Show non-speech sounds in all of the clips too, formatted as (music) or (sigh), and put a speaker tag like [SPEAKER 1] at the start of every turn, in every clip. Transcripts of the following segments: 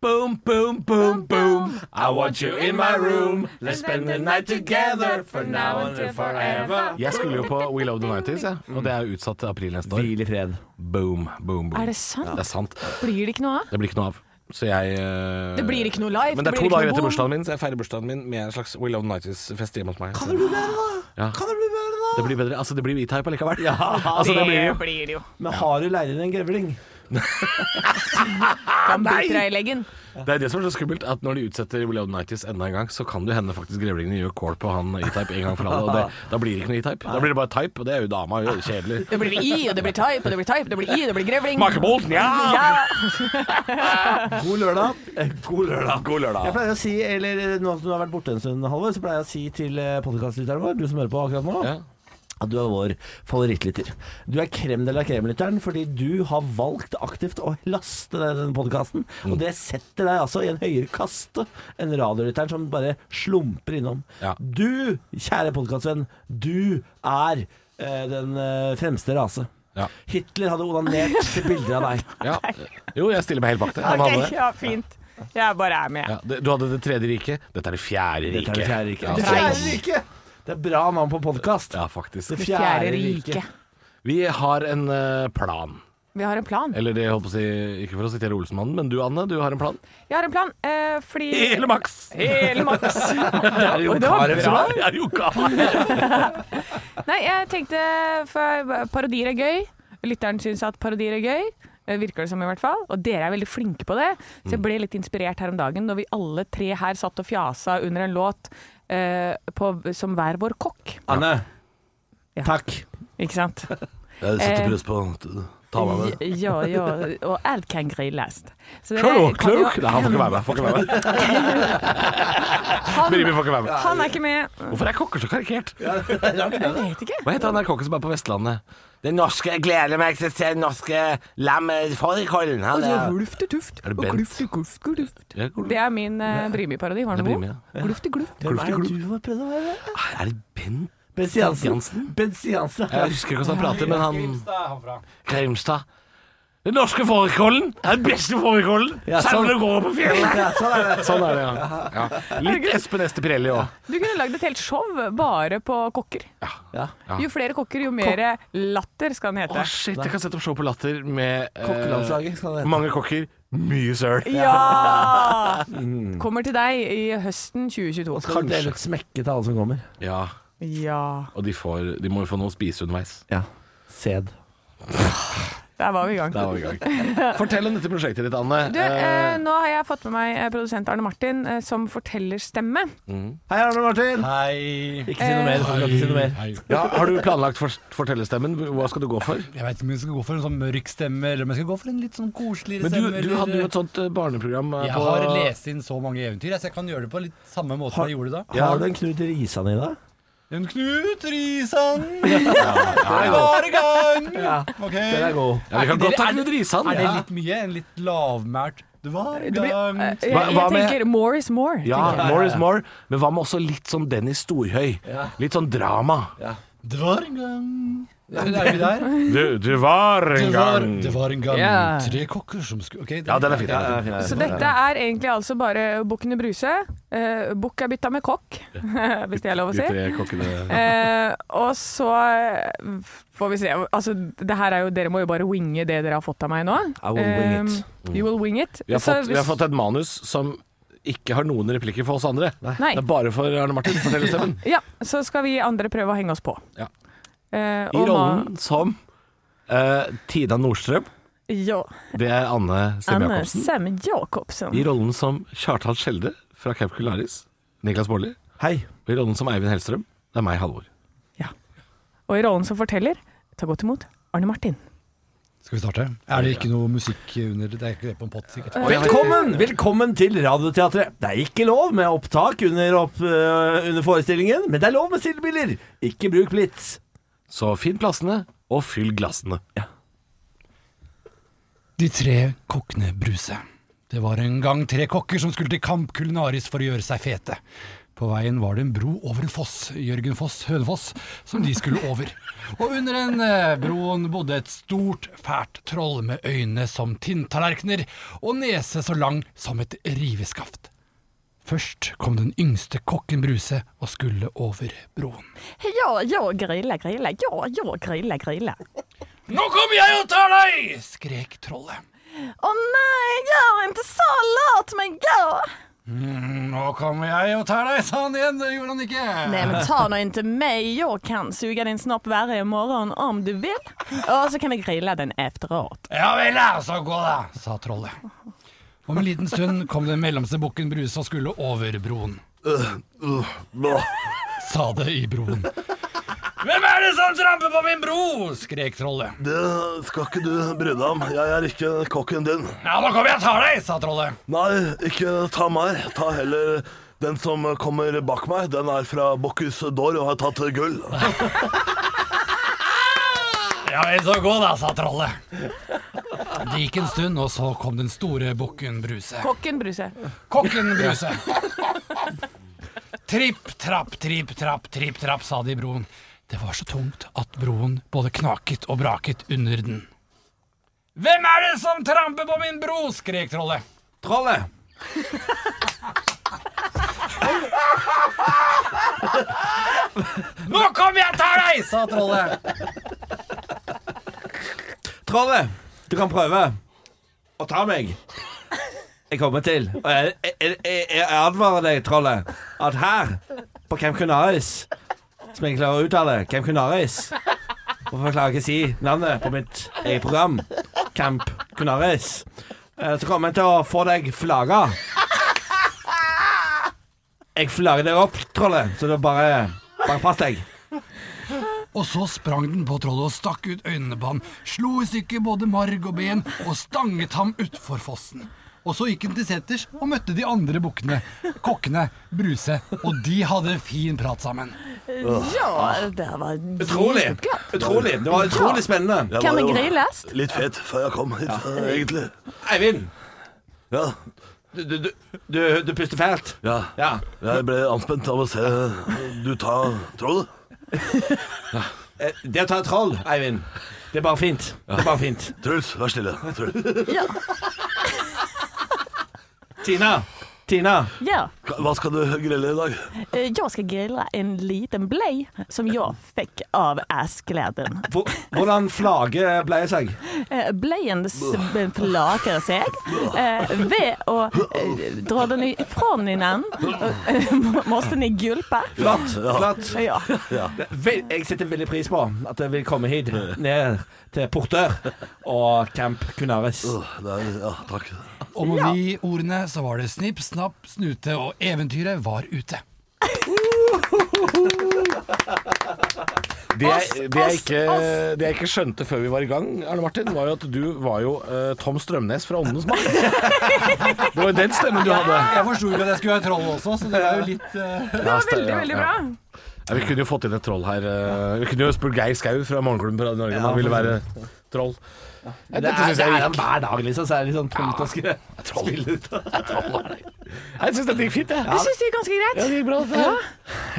[SPEAKER 1] Boom, boom, boom, boom. I want you in my room. Let's spend the night together for now and forever.
[SPEAKER 2] Jeg skulle jo på We Love the 90s, jeg. og det er jo utsatt til april neste år.
[SPEAKER 1] Hvil i fred.
[SPEAKER 2] Boom, boom, boom.
[SPEAKER 3] Er det sant?
[SPEAKER 2] Ja, det er sant.
[SPEAKER 3] Blir det ikke noe av?
[SPEAKER 2] Det blir ikke noe av. Så jeg eh,
[SPEAKER 3] Det blir ikke noe live,
[SPEAKER 2] Men det
[SPEAKER 3] det
[SPEAKER 2] er
[SPEAKER 3] blir
[SPEAKER 2] to
[SPEAKER 3] ikke
[SPEAKER 2] dager
[SPEAKER 3] noe
[SPEAKER 2] etter
[SPEAKER 3] bom.
[SPEAKER 2] bursdagen min, så jeg feirer bursdagen min med en slags We Love the 90s-fest hjemme hos meg. Kan det bli bedre, da? Ja.
[SPEAKER 1] Kan det bli bedre, da?
[SPEAKER 2] Det blir bedre. Altså, det blir E-Type allikevel. Ja, (laughs) altså, det blir jo
[SPEAKER 3] blir det jo.
[SPEAKER 1] Men har du leirere enn grevling?
[SPEAKER 3] Han biter deg i leggen.
[SPEAKER 2] Det er det som er så skummelt, at når de utsetter Will Nighties enda en gang, så kan det hende faktisk grevlingene gjør kål på han E-Type en gang for alle. Og det, da blir det ikke noe E-Type. Da blir det bare type, og det er jo dama. Det er jo kjedelig.
[SPEAKER 3] Det blir i, og det blir type, og det blir type, det blir i, det blir grevling.
[SPEAKER 2] Makebolten, ja!
[SPEAKER 3] Ja.
[SPEAKER 1] God lørdag. Eh, God lørdag.
[SPEAKER 2] God
[SPEAKER 1] Jeg
[SPEAKER 2] lørdag.
[SPEAKER 1] pleier å si, eller eh, nå som du har vært borte en stund, Halvor, så pleier jeg å si til podkastlytteren vår, du som hører på akkurat nå,
[SPEAKER 2] Ja.
[SPEAKER 1] at du er vår favorittlytter. Du er krem de la krem-lytteren fordi du har valgt aktivt å laste ned denne podkasten. Og det setter deg altså i en høyere kaste enn radiolytteren som bare slumper innom.
[SPEAKER 2] Ja.
[SPEAKER 1] Du, kjære podkastvenn, du er eh, den eh, fremste rase.
[SPEAKER 2] Ja.
[SPEAKER 1] Hitler hadde
[SPEAKER 3] (laughs)
[SPEAKER 1] onanert til bilder av deg.
[SPEAKER 2] Ja. Jo, jeg stiller meg helt bak det. Han hadde det.
[SPEAKER 3] ja, fint. Jeg bare er med.
[SPEAKER 2] Ja, det- du hadde Det tredje riket. Dette er Det fjerde riket.
[SPEAKER 1] Dette er det fjerde riket.
[SPEAKER 2] Ja,
[SPEAKER 1] Det
[SPEAKER 2] sånn.
[SPEAKER 1] fjerde riket! Det er bra navn på podkast.
[SPEAKER 2] Ja, faktisk.
[SPEAKER 1] Det
[SPEAKER 3] Fjerde rike.
[SPEAKER 2] Vi har en eh, plan.
[SPEAKER 3] Vi har en plan.
[SPEAKER 2] Eller det jeg holdt på å si, ikke for å sitere Olsenmannen, men du Anne, du har en plan?
[SPEAKER 3] Jeg har en plan, eh, fordi
[SPEAKER 2] Hele maks!
[SPEAKER 3] Hele maks.
[SPEAKER 2] Det er jo
[SPEAKER 3] Det var
[SPEAKER 2] karet som
[SPEAKER 3] bra.
[SPEAKER 2] er- det er jo
[SPEAKER 3] (laughs)
[SPEAKER 2] karet.
[SPEAKER 3] Nei, jeg tenkte For parodier er gøy. Lytteren syns at parodier er gøy. eh, Virker det som, i hvert fall. Og dere er veldig flinke på det.
[SPEAKER 2] Mm.
[SPEAKER 3] Så jeg ble litt inspirert her om dagen da vi alle tre her satt og fjasa under en låt eh, på, som hver vår kokk.
[SPEAKER 1] Anne,
[SPEAKER 3] Ja.
[SPEAKER 1] takk.
[SPEAKER 3] Ikke sant?
[SPEAKER 2] Jeg
[SPEAKER 3] setter
[SPEAKER 2] pris på Ta meg med.
[SPEAKER 3] Ja, ja. Og alt kan grilles. Så dere
[SPEAKER 2] Klok,
[SPEAKER 3] kan jo-
[SPEAKER 2] klok. Nei, han får ikke være med. Får ikke være med. Brimi
[SPEAKER 3] Han,
[SPEAKER 2] får ikke være med.
[SPEAKER 3] han er ikke med.
[SPEAKER 2] Hvorfor er kokker så karikert?
[SPEAKER 3] Jeg vet ikke.
[SPEAKER 2] Hva heter han der kokken som er på Vestlandet? Det norske gleder meg til å se den norske lammefårikålen. Han er
[SPEAKER 3] glufte tuft.
[SPEAKER 2] Er det Bent?
[SPEAKER 3] glufte, glufte, glufte.
[SPEAKER 2] Ja, cool.
[SPEAKER 3] Det er min uh, Brimi-parodi. Var
[SPEAKER 2] Det
[SPEAKER 3] den
[SPEAKER 2] blir
[SPEAKER 3] god?
[SPEAKER 2] med,
[SPEAKER 3] Glufte, glufte.
[SPEAKER 1] Hvem er
[SPEAKER 2] Klufte,
[SPEAKER 1] det du var prøvd å være?
[SPEAKER 2] Er det Bent
[SPEAKER 1] Bens Jansen. Bens Jansen.
[SPEAKER 2] Jeg husker ikke hvordan han prater, men han Grimstad. Den norske fårikålen er den beste fårikålen!
[SPEAKER 1] Ja,
[SPEAKER 2] Selv om
[SPEAKER 1] sånn.
[SPEAKER 2] det går på fjellet!
[SPEAKER 1] Ja, sånn er det.
[SPEAKER 2] Sånn er det, ja. ja. Litt Espen Ester Pirelli òg.
[SPEAKER 3] Du kunne lagd et helt show bare på kokker.
[SPEAKER 1] Ja.
[SPEAKER 2] Ja.
[SPEAKER 3] Jo flere kokker, jo mer latter skal den
[SPEAKER 2] Å,
[SPEAKER 3] hete.
[SPEAKER 2] shit, jeg kan sette opp show på Latter med eh,
[SPEAKER 1] Kokkelandslaget skal det hete.
[SPEAKER 2] mange kokker, mye søl.
[SPEAKER 3] Ja! Kommer til deg i høsten 2022.
[SPEAKER 1] Kan dele ut smekke til alle som kommer.
[SPEAKER 2] Ja,
[SPEAKER 3] Ja.
[SPEAKER 2] og de, får, de må jo få noe å spise underveis.
[SPEAKER 1] Ja. Sæd.
[SPEAKER 3] Der var vi i gang.
[SPEAKER 2] Der var vi i gang. Fortell om dette prosjektet ditt, Anne.
[SPEAKER 3] Du, eh, nå har jeg fått med meg eh, produsent Arne Martin eh, som fortellerstemme.
[SPEAKER 2] mm.
[SPEAKER 1] Hei, Arne Martin.
[SPEAKER 4] Hei.
[SPEAKER 1] Ikke si noe mer. Du kan ikke si noe mer.
[SPEAKER 2] ja, har du planlagt for fortellerstemmen? Hva skal du gå for?
[SPEAKER 4] Jeg vet ikke om jeg skal gå for en sånn mørk stemme, eller om jeg skal gå for en litt sånn koseligere
[SPEAKER 2] Men du,
[SPEAKER 4] stemme.
[SPEAKER 2] du
[SPEAKER 4] eller-
[SPEAKER 2] hadde jo et sånt eh, barneprogram eh,
[SPEAKER 4] Jeg
[SPEAKER 2] på
[SPEAKER 4] har lest inn så mange eventyr, jeg, så jeg kan gjøre det på litt samme måte som jeg gjorde da.
[SPEAKER 1] Eh, Har du en Knut Risan i deg?
[SPEAKER 4] En Knut
[SPEAKER 2] (laughs)
[SPEAKER 4] Risan, jeg var i gang. Ok.
[SPEAKER 1] Den er god.
[SPEAKER 2] Ja, vi kan
[SPEAKER 4] Er det-
[SPEAKER 2] godt ta
[SPEAKER 4] er det-
[SPEAKER 2] Knut Risan.
[SPEAKER 4] Er det
[SPEAKER 2] ja.
[SPEAKER 4] litt mye? En litt lavmælt Du var i
[SPEAKER 3] Du blir,
[SPEAKER 4] gang.
[SPEAKER 3] eh, jeg,
[SPEAKER 2] Mm. Hva-
[SPEAKER 3] jeg
[SPEAKER 2] hva med-
[SPEAKER 3] tenker more is more.
[SPEAKER 2] Ja,
[SPEAKER 3] tenker jeg.
[SPEAKER 2] more is more. Men hva med også litt sånn Dennis Storhøy? Litt sånn drama.
[SPEAKER 4] Det var en gang Er vi der?
[SPEAKER 2] Du, var
[SPEAKER 4] Det var, det var en gang
[SPEAKER 3] Ja.
[SPEAKER 4] tre kokker som skulle Ok, det-
[SPEAKER 2] Ja, den er fin. Den er fin.
[SPEAKER 3] Så dette er egentlig altså bare Bukkene Bruse. Uh, Bukk er bytta med kokk, (laughs) hvis det er lov å si.
[SPEAKER 2] De tre kokkene
[SPEAKER 3] Eh, og så eh, får vi se. Altså, det her er jo, dere må jo bare winge det dere har fått av meg nå.
[SPEAKER 1] I will wing
[SPEAKER 3] Eh,
[SPEAKER 1] it.
[SPEAKER 3] you will wing it.
[SPEAKER 2] Mm. vi har,
[SPEAKER 3] Så
[SPEAKER 2] fått, vi har fått et manus som ikke har noen replikker for oss andre.
[SPEAKER 3] Nei.
[SPEAKER 2] Det er bare for Arne Martin. Fortellerstemmen.
[SPEAKER 3] Ja, så skal vi andre prøve å henge oss på.
[SPEAKER 2] Ja.
[SPEAKER 3] Eh,
[SPEAKER 2] I
[SPEAKER 3] (laughs) og ma-
[SPEAKER 2] rollen som eh, Tina Nordstrøm.
[SPEAKER 3] Ja.
[SPEAKER 2] Det er Anne Sem
[SPEAKER 3] Anne
[SPEAKER 2] Jacobsen.
[SPEAKER 3] Sem Jacobsen.
[SPEAKER 2] I rollen som Kjartan Skjelde fra Camp Kularis. Niklas Baarli.
[SPEAKER 1] Hei.
[SPEAKER 2] Og I rollen som Eivind Hellstrøm. Det er meg, Halvor.
[SPEAKER 3] Og i rollen som forteller, ta godt imot Arne Martin.
[SPEAKER 4] Skal vi starte? Er det ikke noe musikk under? Det er ikke det på en pott, sikkert.
[SPEAKER 1] Velkommen! Velkommen til Radioteatret. Det er ikke lov med opptak under, opp, øh, under forestillingen, men det er lov med stillbilder. Ikke bruk blitz.
[SPEAKER 2] Så finn plassene, og fyll glassene.
[SPEAKER 4] De tre kokkene Bruse. Det var en gang tre kokker som skulle til Kamp Kulinaris for å gjøre seg fete.
[SPEAKER 5] På veien var det en bro over en foss, Jørgen Foss Hønefoss, som de skulle over. Og under den eh, broen bodde et stort, fælt troll med øyne som tinntallerkener og nese så lang som et riveskaft. Først kom den yngste kokken Bruse og skulle over broen.
[SPEAKER 3] Ja, ja, grilla, grilla. Ja, ja, grilla, grilla.
[SPEAKER 5] Nå kommer jeg og tar deg! skrek trollet.
[SPEAKER 3] Å nei, gjør ikke så lat meg gå!
[SPEAKER 5] Nå kommer jeg og tar deg, sa han igjen. Det gjorde han ikke.
[SPEAKER 3] Nej men ta nu inte mig, jag kan suga din snopp varje morgon om du vill. Och så kan vi grilla den efteråt.
[SPEAKER 5] Ja vel, da, så gå da, sa trollet. Om en liten stund kom den mellomste bukken Bruse og skulle over broen. Sa det i broen. Hvem er det som tramper på min bro? skrek trollet.
[SPEAKER 6] Det skal ikke du bry deg om. Jeg er ikke kokken din.
[SPEAKER 5] Ja, nå kommer jeg og tar deg, sa trollet.
[SPEAKER 6] Nei, ikke ta meg. Ta heller den som kommer bak meg. Den er fra Bocuse d'Or og har tatt gull.
[SPEAKER 5] Ja vel, så gå da, sa trollet. Det gikk en stund, og så kom den store bukken Bruse.
[SPEAKER 3] Kocken Bruse.
[SPEAKER 5] Kokken Bruse. Tripp, trapp, tripp, trapp, tripp, trapp, sa de i broen. Det var så tungt at broen både knaket og braket under den. Hvem er det som tramper på min bro? skrek trollet.
[SPEAKER 1] Trollet!
[SPEAKER 5] Nå kommer jeg og tar deg! sa trollet.
[SPEAKER 1] Trollet! Du kan prøve å ta meg. Jeg kommer til. Og jeg, jeg, jeg, jeg advarer deg, trollet, at her, på Camp Cunaris, som jeg klarer å uttale, Camp Cunaris Hvorfor klarer jeg ikke å si navnet på mitt eget program? Camp Cunaris. Eh, Så kommer jeg til å få deg flagga. Jeg flagger deg opp, trollet, så det er bare Bare pass deg.
[SPEAKER 5] Og så sprang den på trollet og stakk ut øynene på ham, slo i stykker både marg og ben og stanget ham utfor fossen. Og så gikk den til seters og møtte de andre bukkene, kokkene, Bruse, og de hadde fin prat sammen.
[SPEAKER 3] Ja, det där var
[SPEAKER 1] Utrolig. Utrolig. Det var utrolig spennende.
[SPEAKER 6] Jeg
[SPEAKER 3] Kan
[SPEAKER 6] var
[SPEAKER 3] vi
[SPEAKER 6] jo
[SPEAKER 3] grilles?
[SPEAKER 6] Litt fet før jeg kom hit, egentlig.
[SPEAKER 1] Eivind,
[SPEAKER 6] Ja.
[SPEAKER 1] du, du, du, du- du puster fælt.
[SPEAKER 6] ja.
[SPEAKER 1] Ja.
[SPEAKER 6] Jeg ble anspent av å se du ta trollet.
[SPEAKER 1] Eh, Det å ta et troll, Eivind, det er bare fint. Det er bare fint.
[SPEAKER 6] Truls, vær stille. Truls.
[SPEAKER 1] Tina. Tina.
[SPEAKER 3] Ja.
[SPEAKER 6] Hva skal du grille i dag?
[SPEAKER 3] Eh, Jag ska grilla en liten blej som jag fick av askläden.
[SPEAKER 1] hvor- Hvordan flagget ble seg?
[SPEAKER 3] Eh, Blejen s- flakar sig eh, ved att eh, dra den ifrån innan. Eh, (laughs) må- Måste ni gulpa?
[SPEAKER 1] Flott. flott.
[SPEAKER 3] Ja.
[SPEAKER 1] Det- ve- Jeg setter veldig pris på at jeg vil komme hit, ned til Portør og Camp Cunaris.
[SPEAKER 6] Det er, ja, takk.
[SPEAKER 5] Og med de ordene så var det snipp, snapp, snute, og eventyret var ute.
[SPEAKER 2] Det jeg, det, jeg ikke, det jeg ikke skjønte før vi var i gang, Arne Martin, var jo at du var jo eh, Tom Strømnes fra Åndenes makt. Det var jo den stemmen du hadde.
[SPEAKER 5] Jeg forsto ikke at jeg skulle være troll også, så det var jo litt eh,
[SPEAKER 2] Det
[SPEAKER 3] Veldig, veldig bra.
[SPEAKER 2] Ja, vi kunne jo fått inn et troll her. eh, Vi kunne jo spurt Geir Skau fra Morgenklubben på Radio Norge om han ville være troll.
[SPEAKER 1] Det
[SPEAKER 2] dette
[SPEAKER 1] er,
[SPEAKER 2] synes
[SPEAKER 1] det
[SPEAKER 2] jeg
[SPEAKER 1] er
[SPEAKER 2] gikk.
[SPEAKER 1] hver dag, liksom, så er det litt sånn tungt å skulle spille
[SPEAKER 2] (laughs)
[SPEAKER 1] ut.
[SPEAKER 2] Jeg syns dette gikk fint, jeg.
[SPEAKER 3] Jeg syns det er ganske greit.
[SPEAKER 2] det gikk bra. dette her.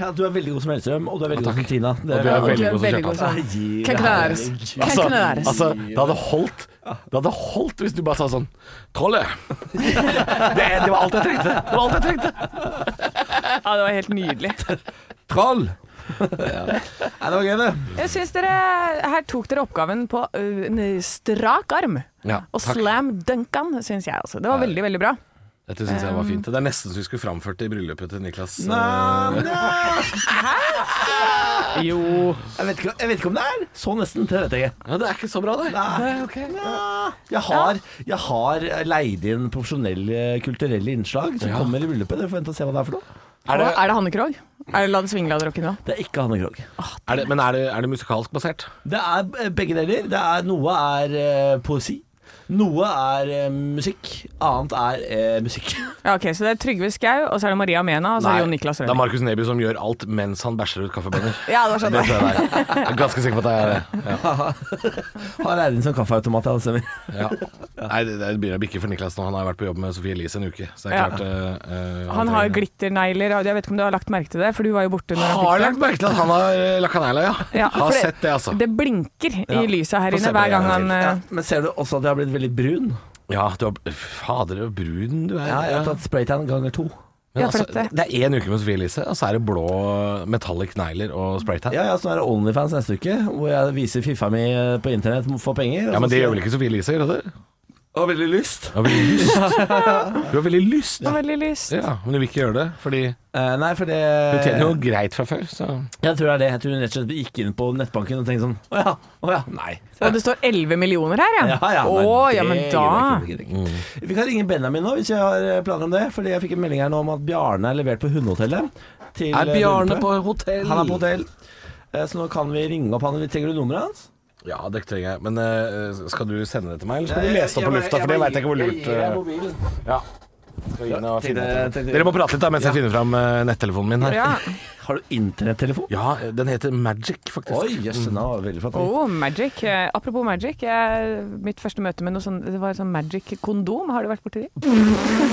[SPEAKER 1] Ja, du er veldig god som Hellstrøm, og du er veldig god som Tina.
[SPEAKER 2] Og
[SPEAKER 1] Det
[SPEAKER 2] du er
[SPEAKER 1] er,
[SPEAKER 2] veldig god som
[SPEAKER 7] veldig god
[SPEAKER 2] kjøpmann.
[SPEAKER 7] som Kan knæres. Kan
[SPEAKER 2] Altså,
[SPEAKER 7] knæres.
[SPEAKER 2] altså, det hadde holdt Det hadde holdt hvis du bare sa sånn Trollet! Det, det var alt jeg trengte. Det var alt jeg trengte.
[SPEAKER 3] (laughs) Ja, det var helt
[SPEAKER 2] (laughs)
[SPEAKER 3] nydelig.
[SPEAKER 1] troll!
[SPEAKER 3] (laughs)
[SPEAKER 1] Ja, det var gøy, det.
[SPEAKER 3] Jeg syns dere Her tok dere oppgaven på ø, en strak arm.
[SPEAKER 2] Ja,
[SPEAKER 3] og
[SPEAKER 2] takk.
[SPEAKER 3] slam dunkan, syns jeg også. Det var veldig, veldig bra.
[SPEAKER 2] Dette syns jeg var fint. Det er nesten så vi skulle framført det i bryllupet til Niklas.
[SPEAKER 7] Jo.
[SPEAKER 1] Jeg vet, ikke, jeg vet ikke om det er så nesten, det vet jeg ikke.
[SPEAKER 2] Ja, det er ikke så bra, det.
[SPEAKER 1] Jeg har, jeg har leid inn profesjonelle kulturelle innslag som kommer i bryllupet. Dere får vente og se hva det er for noe.
[SPEAKER 2] Er det,
[SPEAKER 3] Er det Hannekrog? Er det La det svingle av rocken nå?
[SPEAKER 1] Det er ikke Hanne Krogh.
[SPEAKER 2] er det, men er det, er det musikalsk basert?
[SPEAKER 1] Det er begge deler. Det er, noe er eh, poesi. Noe er eh, musikk, annet er eh, musikk. (laughs)
[SPEAKER 3] Ja, ok, Så det er Trygve Skau, og så er det Maria Mena, og så er det Jon Altså, Niklas
[SPEAKER 2] det er
[SPEAKER 3] Rønning.
[SPEAKER 2] Markus Neby som gjør alt mens han bæsjer ut kaffebønner.
[SPEAKER 3] Ja, (laughs) det var
[SPEAKER 2] Det
[SPEAKER 3] sånn.
[SPEAKER 2] tror jeg det er. Jeg er ganske sikker på at det er
[SPEAKER 3] (laughs)
[SPEAKER 2] det. Ja.
[SPEAKER 1] Har leid inn som kaffeautomat, ja, det stemmer.
[SPEAKER 2] Ja. Nei, det, det begynner å bikke for Niklas nå. Han har vært på jobb med Sofie Elise en uke. Så det er
[SPEAKER 3] Ja.
[SPEAKER 2] klart eh, eh,
[SPEAKER 3] Han har
[SPEAKER 2] trenger-
[SPEAKER 3] glitternegler, og jeg vet ikke om du har lagt merke til det, for du var jo borte når
[SPEAKER 2] Har
[SPEAKER 3] han
[SPEAKER 2] lagt
[SPEAKER 3] fikk det.
[SPEAKER 2] merke til at han har eh, lakanella, ja.
[SPEAKER 3] Ja,
[SPEAKER 2] har
[SPEAKER 3] for det-
[SPEAKER 2] sett det, altså.
[SPEAKER 3] Det blinker i lyset her
[SPEAKER 2] Få se
[SPEAKER 3] inne
[SPEAKER 2] på
[SPEAKER 3] hver
[SPEAKER 2] det
[SPEAKER 3] gang
[SPEAKER 2] en
[SPEAKER 3] han
[SPEAKER 2] gang
[SPEAKER 1] Ja,
[SPEAKER 3] eh,
[SPEAKER 1] men ser du også at jeg har blitt veldig brun?
[SPEAKER 2] Ja, du har Fader, så brun du er.
[SPEAKER 1] Ja, jeg har tatt spraytan ganger to.
[SPEAKER 2] Men
[SPEAKER 3] Ja, for
[SPEAKER 2] altså,
[SPEAKER 3] dette-
[SPEAKER 2] det er én uke med Sofie Elise, og så er det blå metallic negler og spraytan. Ja,
[SPEAKER 1] Ja, ja, så er det Onlyfans neste uke, hvor jeg viser fiffa mi eh, på internett for penger. og så
[SPEAKER 2] men det
[SPEAKER 1] skal-
[SPEAKER 2] gjør vel ikke Sofie Elise? Gjør det?
[SPEAKER 1] Har veldig lyst.
[SPEAKER 2] Du har veldig
[SPEAKER 1] (laughs)
[SPEAKER 2] lyst. Du har veldig lyst.
[SPEAKER 3] var veldig lyst.
[SPEAKER 2] Ja, men du vil ikke gjøre det, fordi du
[SPEAKER 1] Eh, nei, for det
[SPEAKER 2] tjener jo greit fra før, så
[SPEAKER 1] Jeg tror det er det. Jeg tror hun rett og slett gikk inn på nettbanken og tenkte sånn Å ja, å ja. Nei.
[SPEAKER 3] Og det står 11 millioner her, ja.
[SPEAKER 1] Ja, ja, nei,
[SPEAKER 3] Å,
[SPEAKER 1] det
[SPEAKER 3] ja, men
[SPEAKER 1] gidder
[SPEAKER 3] da
[SPEAKER 1] jeg ikke, det gidder jeg
[SPEAKER 2] Mm.
[SPEAKER 1] ikke. Vi kan ringe Benjamin nå, hvis jeg har eh, planer om det. Fordi jeg fikk en melding her nå om at Bjarne er levert på Hundehotellet. til, eh, bryllupet.
[SPEAKER 2] hotell?
[SPEAKER 1] Han er på hotell. Eh, Så nå kan vi ringe opp han. Trenger du nummeret hans?
[SPEAKER 2] Ja, det trenger jeg. Men eh, skal du sende det til meg, eller skal du
[SPEAKER 1] Eh,
[SPEAKER 2] lese det opp på lufta? For det veit jeg ikke hvor lurt eh, ja. Skal vi inn og finne ut
[SPEAKER 1] tenkte-
[SPEAKER 2] av det?
[SPEAKER 1] tenkte-
[SPEAKER 2] Dere må prate litt da mens jeg finner fram eh, nettelefonen min her.
[SPEAKER 3] ja.
[SPEAKER 1] Har du internettelefon?
[SPEAKER 2] Ja, den heter Magic, faktisk. Mm.
[SPEAKER 1] Oi, jøss, den var veldig flott.
[SPEAKER 3] Oh, magic. Eh, Apropos magic. Jeg, mitt første møte med noe sånn, det var et sånn magic-kondom. Har du vært borti det?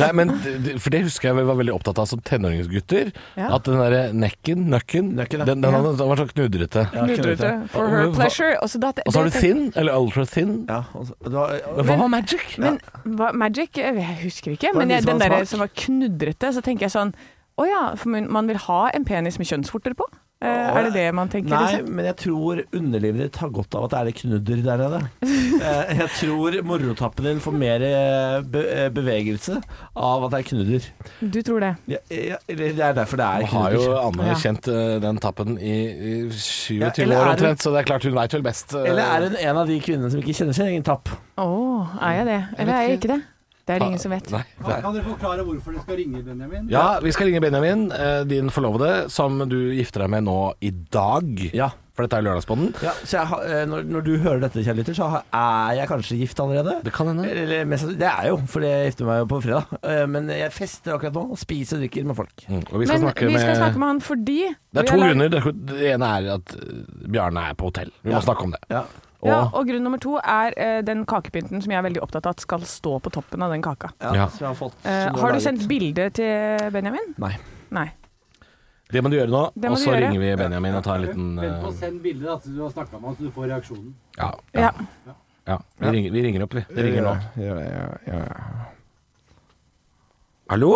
[SPEAKER 2] Nei, men d- d- For det husker jeg vi var veldig opptatt av som tenåringsgutter.
[SPEAKER 3] Ja.
[SPEAKER 2] At den derre nekken, nøkken,
[SPEAKER 1] Nøkken, ja.
[SPEAKER 2] den, den, hadde- den var så knudrete.
[SPEAKER 3] Knudrete. For her
[SPEAKER 2] Hva-
[SPEAKER 3] pleasure. Og så da-
[SPEAKER 2] Og så har
[SPEAKER 3] det-
[SPEAKER 2] du thin, eller ultra thin.
[SPEAKER 1] Ja, og så- du har,
[SPEAKER 2] Men hva var magic?
[SPEAKER 3] Men hva, magic eh, Jeg husker ikke.
[SPEAKER 1] Var det
[SPEAKER 3] Men jeg,
[SPEAKER 1] liksom
[SPEAKER 3] den der
[SPEAKER 1] smak?
[SPEAKER 3] som var knudrete, så tenker jeg sånn Å ja, for man man vil ha en penis med kjønnsvorter på? Eh, Er det det man tenker?
[SPEAKER 1] Nei,
[SPEAKER 3] liksom?
[SPEAKER 1] men jeg tror underlivet ditt har godt av at det er litt knudder der
[SPEAKER 3] (laughs)
[SPEAKER 1] nede. Eh, Jeg tror morotappen din får mer eh, be eh, bevegelse av at det er knudder.
[SPEAKER 3] Du tror det.
[SPEAKER 1] Ja, ja, eller det er derfor det er
[SPEAKER 2] Nå har jo
[SPEAKER 1] knudder.
[SPEAKER 2] Anne
[SPEAKER 3] Ja.
[SPEAKER 2] kjent eh, den tappen i, i 27
[SPEAKER 1] Ja, eller
[SPEAKER 2] år
[SPEAKER 1] er hun-
[SPEAKER 2] omtrent, så det er klart hun veit vel best. eh,
[SPEAKER 1] Eller er hun en av de kvinnene som ikke kjenner sin egen tapp?
[SPEAKER 3] Å, er jeg det? Eller er jeg ikke det? Det er det ingen som vet.
[SPEAKER 2] Nei, det er.
[SPEAKER 8] Kan dere forklare hvorfor dere skal ringe, Benjamin?
[SPEAKER 2] Ja, vi skal ringe Benjamin, eh, din forlovede, som du gifter deg med nå i dag.
[SPEAKER 1] Ja.
[SPEAKER 2] For dette er jo Lørdagsbånden.
[SPEAKER 1] ja så jeg har, eh, når, når du hører dette, kjære lytter, så har- er jeg kanskje gift allerede.
[SPEAKER 2] Det kan
[SPEAKER 3] Mm.
[SPEAKER 2] hende.
[SPEAKER 1] Eller, mest, sannsynlig- det er jeg jo, for jeg gifter meg jo på fredag. Eh, Men jeg fester akkurat nå og spiser og drikker med folk.
[SPEAKER 2] Mm, og vi skal,
[SPEAKER 3] Men
[SPEAKER 2] snakke,
[SPEAKER 3] vi skal
[SPEAKER 2] med,
[SPEAKER 3] snakke med han fordi
[SPEAKER 2] Det er
[SPEAKER 3] vi har
[SPEAKER 2] to
[SPEAKER 3] lag-
[SPEAKER 2] grunner. Det- Det ene er at eh, Bjarne er på hotell. Vi må snakke om det.
[SPEAKER 1] Ja.
[SPEAKER 2] Og,
[SPEAKER 3] Ja, og grunn nummer to er eh, den kakepynten som jeg er veldig opptatt av at skal stå på toppen av den kaka.
[SPEAKER 2] Ja.
[SPEAKER 1] Som jeg har fått.
[SPEAKER 3] Eh,
[SPEAKER 1] som
[SPEAKER 3] har du
[SPEAKER 1] laget.
[SPEAKER 3] sendt bilde til Benjamin?
[SPEAKER 1] Nei.
[SPEAKER 3] Nei.
[SPEAKER 2] det må du gjøre nå,
[SPEAKER 3] Det
[SPEAKER 2] og
[SPEAKER 3] må du
[SPEAKER 2] så
[SPEAKER 3] gjøre.
[SPEAKER 2] ringer vi Benjamin og tar en liten
[SPEAKER 8] Vent på å
[SPEAKER 2] eh,
[SPEAKER 8] sende bildet da, til du har snakka med han, så du får reaksjonen.
[SPEAKER 2] Ja.
[SPEAKER 3] Ja.
[SPEAKER 2] ja. Vi, ringer, vi ringer opp, vi. Det ringer nå. Hallo?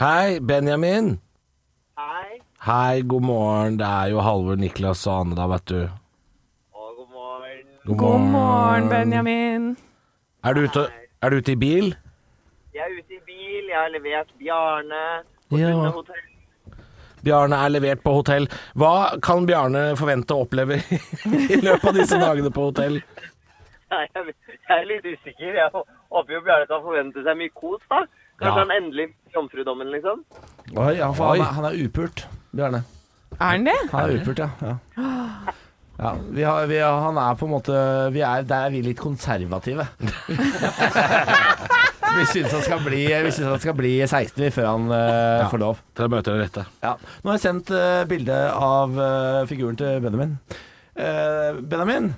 [SPEAKER 2] Hei, Benjamin.
[SPEAKER 9] Hei.
[SPEAKER 2] Hei, god morgen. Det er jo Halvor, Niklas og Anne da, vet du.
[SPEAKER 9] Å, god morgen.
[SPEAKER 3] God morgen, Benjamin.
[SPEAKER 2] Er du ute, er du ute i bil?
[SPEAKER 9] Jeg er ute i bil. Jeg har levert Bjarne på
[SPEAKER 2] Ja.
[SPEAKER 9] Tunnehotell.
[SPEAKER 2] Bjarne er levert på hotell. Hva kan Bjarne forvente å oppleve (laughs) i løpet av disse dagene på hotell?
[SPEAKER 9] (laughs) Jeg er- jeg er litt usikker. Jeg håper jo Bjarne kan forvente seg mye kos, da. Kanskje
[SPEAKER 2] Ja.
[SPEAKER 9] han endelig blir jomfrudommen, liksom.
[SPEAKER 1] Oi, ja, for
[SPEAKER 2] Oi.
[SPEAKER 1] Han, er, han er upult, Bjarne.
[SPEAKER 3] Er han det?
[SPEAKER 1] Han er upult, ja. ja. Ja, vi har, vi har, han er på en måte vi er, Der er vi litt konservative. (laughs) vi syns han skal bli, vi synes han skal bli 16 vi, før han eh, får lov.
[SPEAKER 2] Til å møte det rette.
[SPEAKER 1] Ja. Nå har jeg sendt eh, bilde av eh, figuren til Benjamin. Eh, Benjamin,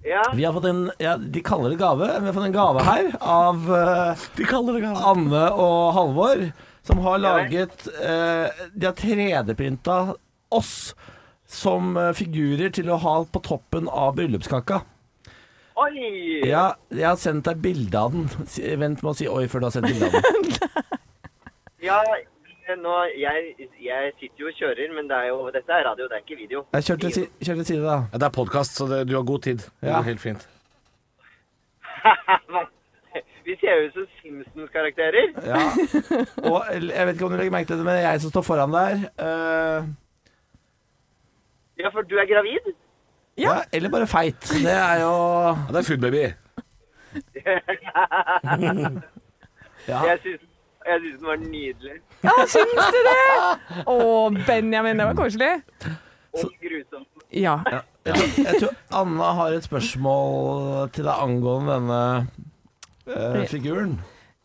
[SPEAKER 9] Ja.
[SPEAKER 1] vi har fått en ja, De kaller det gave. Vi har fått en gave her av eh,
[SPEAKER 2] De kaller det gave.
[SPEAKER 1] Anne og Halvor, som har laget eh, De har 3D-printa oss som eh, figurer til å ha på toppen av bryllupskaka.
[SPEAKER 9] Oi!
[SPEAKER 1] Ja, jeg har sendt deg bilde av den. Si- Vent med å si 'oi' før du har sendt bilde av den.
[SPEAKER 9] Ja, nå, jeg, jeg sitter jo og kjører, men det er jo, dette er radio, det er ikke video.
[SPEAKER 1] Jeg kjør til, si, kjør til side, da.
[SPEAKER 2] Ja, det er podkast, så det, du har god tid. Det
[SPEAKER 1] Ja.
[SPEAKER 2] går helt fint.
[SPEAKER 9] Vi ser jo ut som Simpsons-karakterer.
[SPEAKER 1] Ja. Og jeg vet ikke om du legger merke til det, men jeg som står foran der eh,
[SPEAKER 9] Ja, for du er gravid?
[SPEAKER 1] ja. Eller bare feit. Det er jo
[SPEAKER 2] Ja, det er Food Baby.
[SPEAKER 1] ja.
[SPEAKER 9] Jeg syns jeg syns den var nydelig.
[SPEAKER 3] Ja, syns du det? Å, Benjamin, det var koselig.
[SPEAKER 9] Og grusom.
[SPEAKER 3] Ja.
[SPEAKER 1] Jeg tror, jeg tror Anna har et spørsmål til deg angående denne eh, figuren.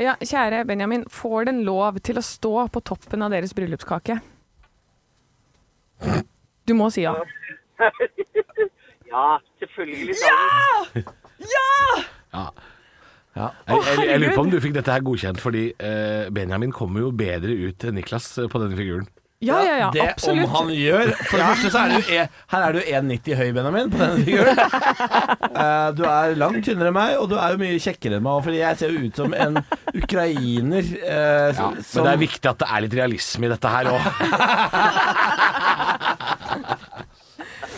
[SPEAKER 3] Ja, kjære Benjamin, får den lov til å stå på toppen av deres bryllupskake? Du må si ja.
[SPEAKER 9] Ja, selvfølgelig. Ja!
[SPEAKER 2] Ja.
[SPEAKER 1] Ja.
[SPEAKER 2] Jeg, jeg, jeg lurer på
[SPEAKER 3] herregud.
[SPEAKER 2] om du fikk dette her godkjent, fordi eh, Benjamin kommer jo bedre ut enn Niklas eh, på denne figuren.
[SPEAKER 3] Ja, ja, ja,
[SPEAKER 1] det
[SPEAKER 3] absolutt.
[SPEAKER 1] om han gjør. For det første så er du e, her er du 1,90 høy, Benjamin, på denne
[SPEAKER 3] (laughs)
[SPEAKER 1] figuren. Eh, du er langt tynnere enn meg, og du er jo mye kjekkere enn meg. Fordi jeg ser jo ut som en ukrainer.
[SPEAKER 2] Ja,
[SPEAKER 1] eh, som,
[SPEAKER 2] men det er viktig at det er litt realisme i dette her òg.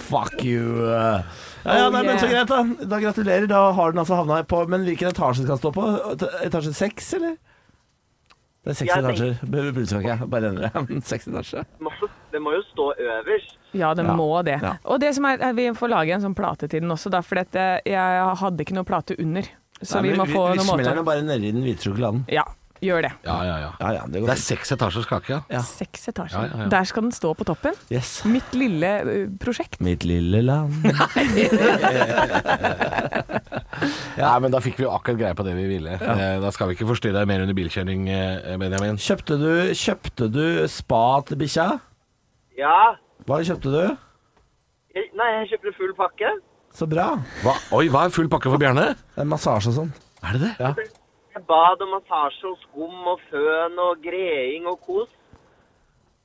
[SPEAKER 1] Fuck you. eh. Ja, ja, nei, men så greit, da. Da Gratulerer. Da har den altså havna på Men hvilken etasje skal den stå på? Et- Etasje seks, eller? Det er seks
[SPEAKER 9] Ja,
[SPEAKER 1] etasjer. Bu- Bullskake. Bare (laughs) endre det. Seks etasje.
[SPEAKER 9] Det må jo stå øverst.
[SPEAKER 3] Ja, den
[SPEAKER 1] Ja.
[SPEAKER 3] må det.
[SPEAKER 1] Ja.
[SPEAKER 3] Og det som er, er vi får lage en sånn plate til den også, da, for dette, jeg hadde ikke noe plate under. Så
[SPEAKER 1] Nei,
[SPEAKER 3] vi
[SPEAKER 1] men
[SPEAKER 3] må få
[SPEAKER 1] vi
[SPEAKER 3] noen
[SPEAKER 1] smeller
[SPEAKER 3] måter.
[SPEAKER 1] den bare nedi den hvite sjokoladen.
[SPEAKER 3] Ja, gjør det.
[SPEAKER 2] (laughs) Ja, ja, ja.
[SPEAKER 1] Ja, ja, det går
[SPEAKER 2] Det er
[SPEAKER 1] fint.
[SPEAKER 2] seks etasjers kake, ja.
[SPEAKER 1] Ja.
[SPEAKER 3] Seks etasjer.
[SPEAKER 2] Ja, ja, ja.
[SPEAKER 3] Der skal den stå på toppen.
[SPEAKER 1] Yes.
[SPEAKER 3] Mitt lille eh, prosjekt.
[SPEAKER 1] Mitt lille land.
[SPEAKER 2] Nei, men da fikk vi jo akkurat greie på det vi ville. Eh, Da skal vi ikke forstyrre deg mer under bilkjøring, eh, Benjamin.
[SPEAKER 1] (laughs) Kjøpte du, kjøpte du spa til bikkja?
[SPEAKER 9] Ja.
[SPEAKER 1] Hva kjøpte du?
[SPEAKER 9] Jeg- Nei, jeg kjøpte full pakke.
[SPEAKER 1] Så bra.
[SPEAKER 2] Hva? Oi, hva er full pakke for Bjarne?
[SPEAKER 1] En massasje og sånn.
[SPEAKER 2] Er det det? Ja.
[SPEAKER 9] Jeg Bad og massasje og skum og føn og greing og kos.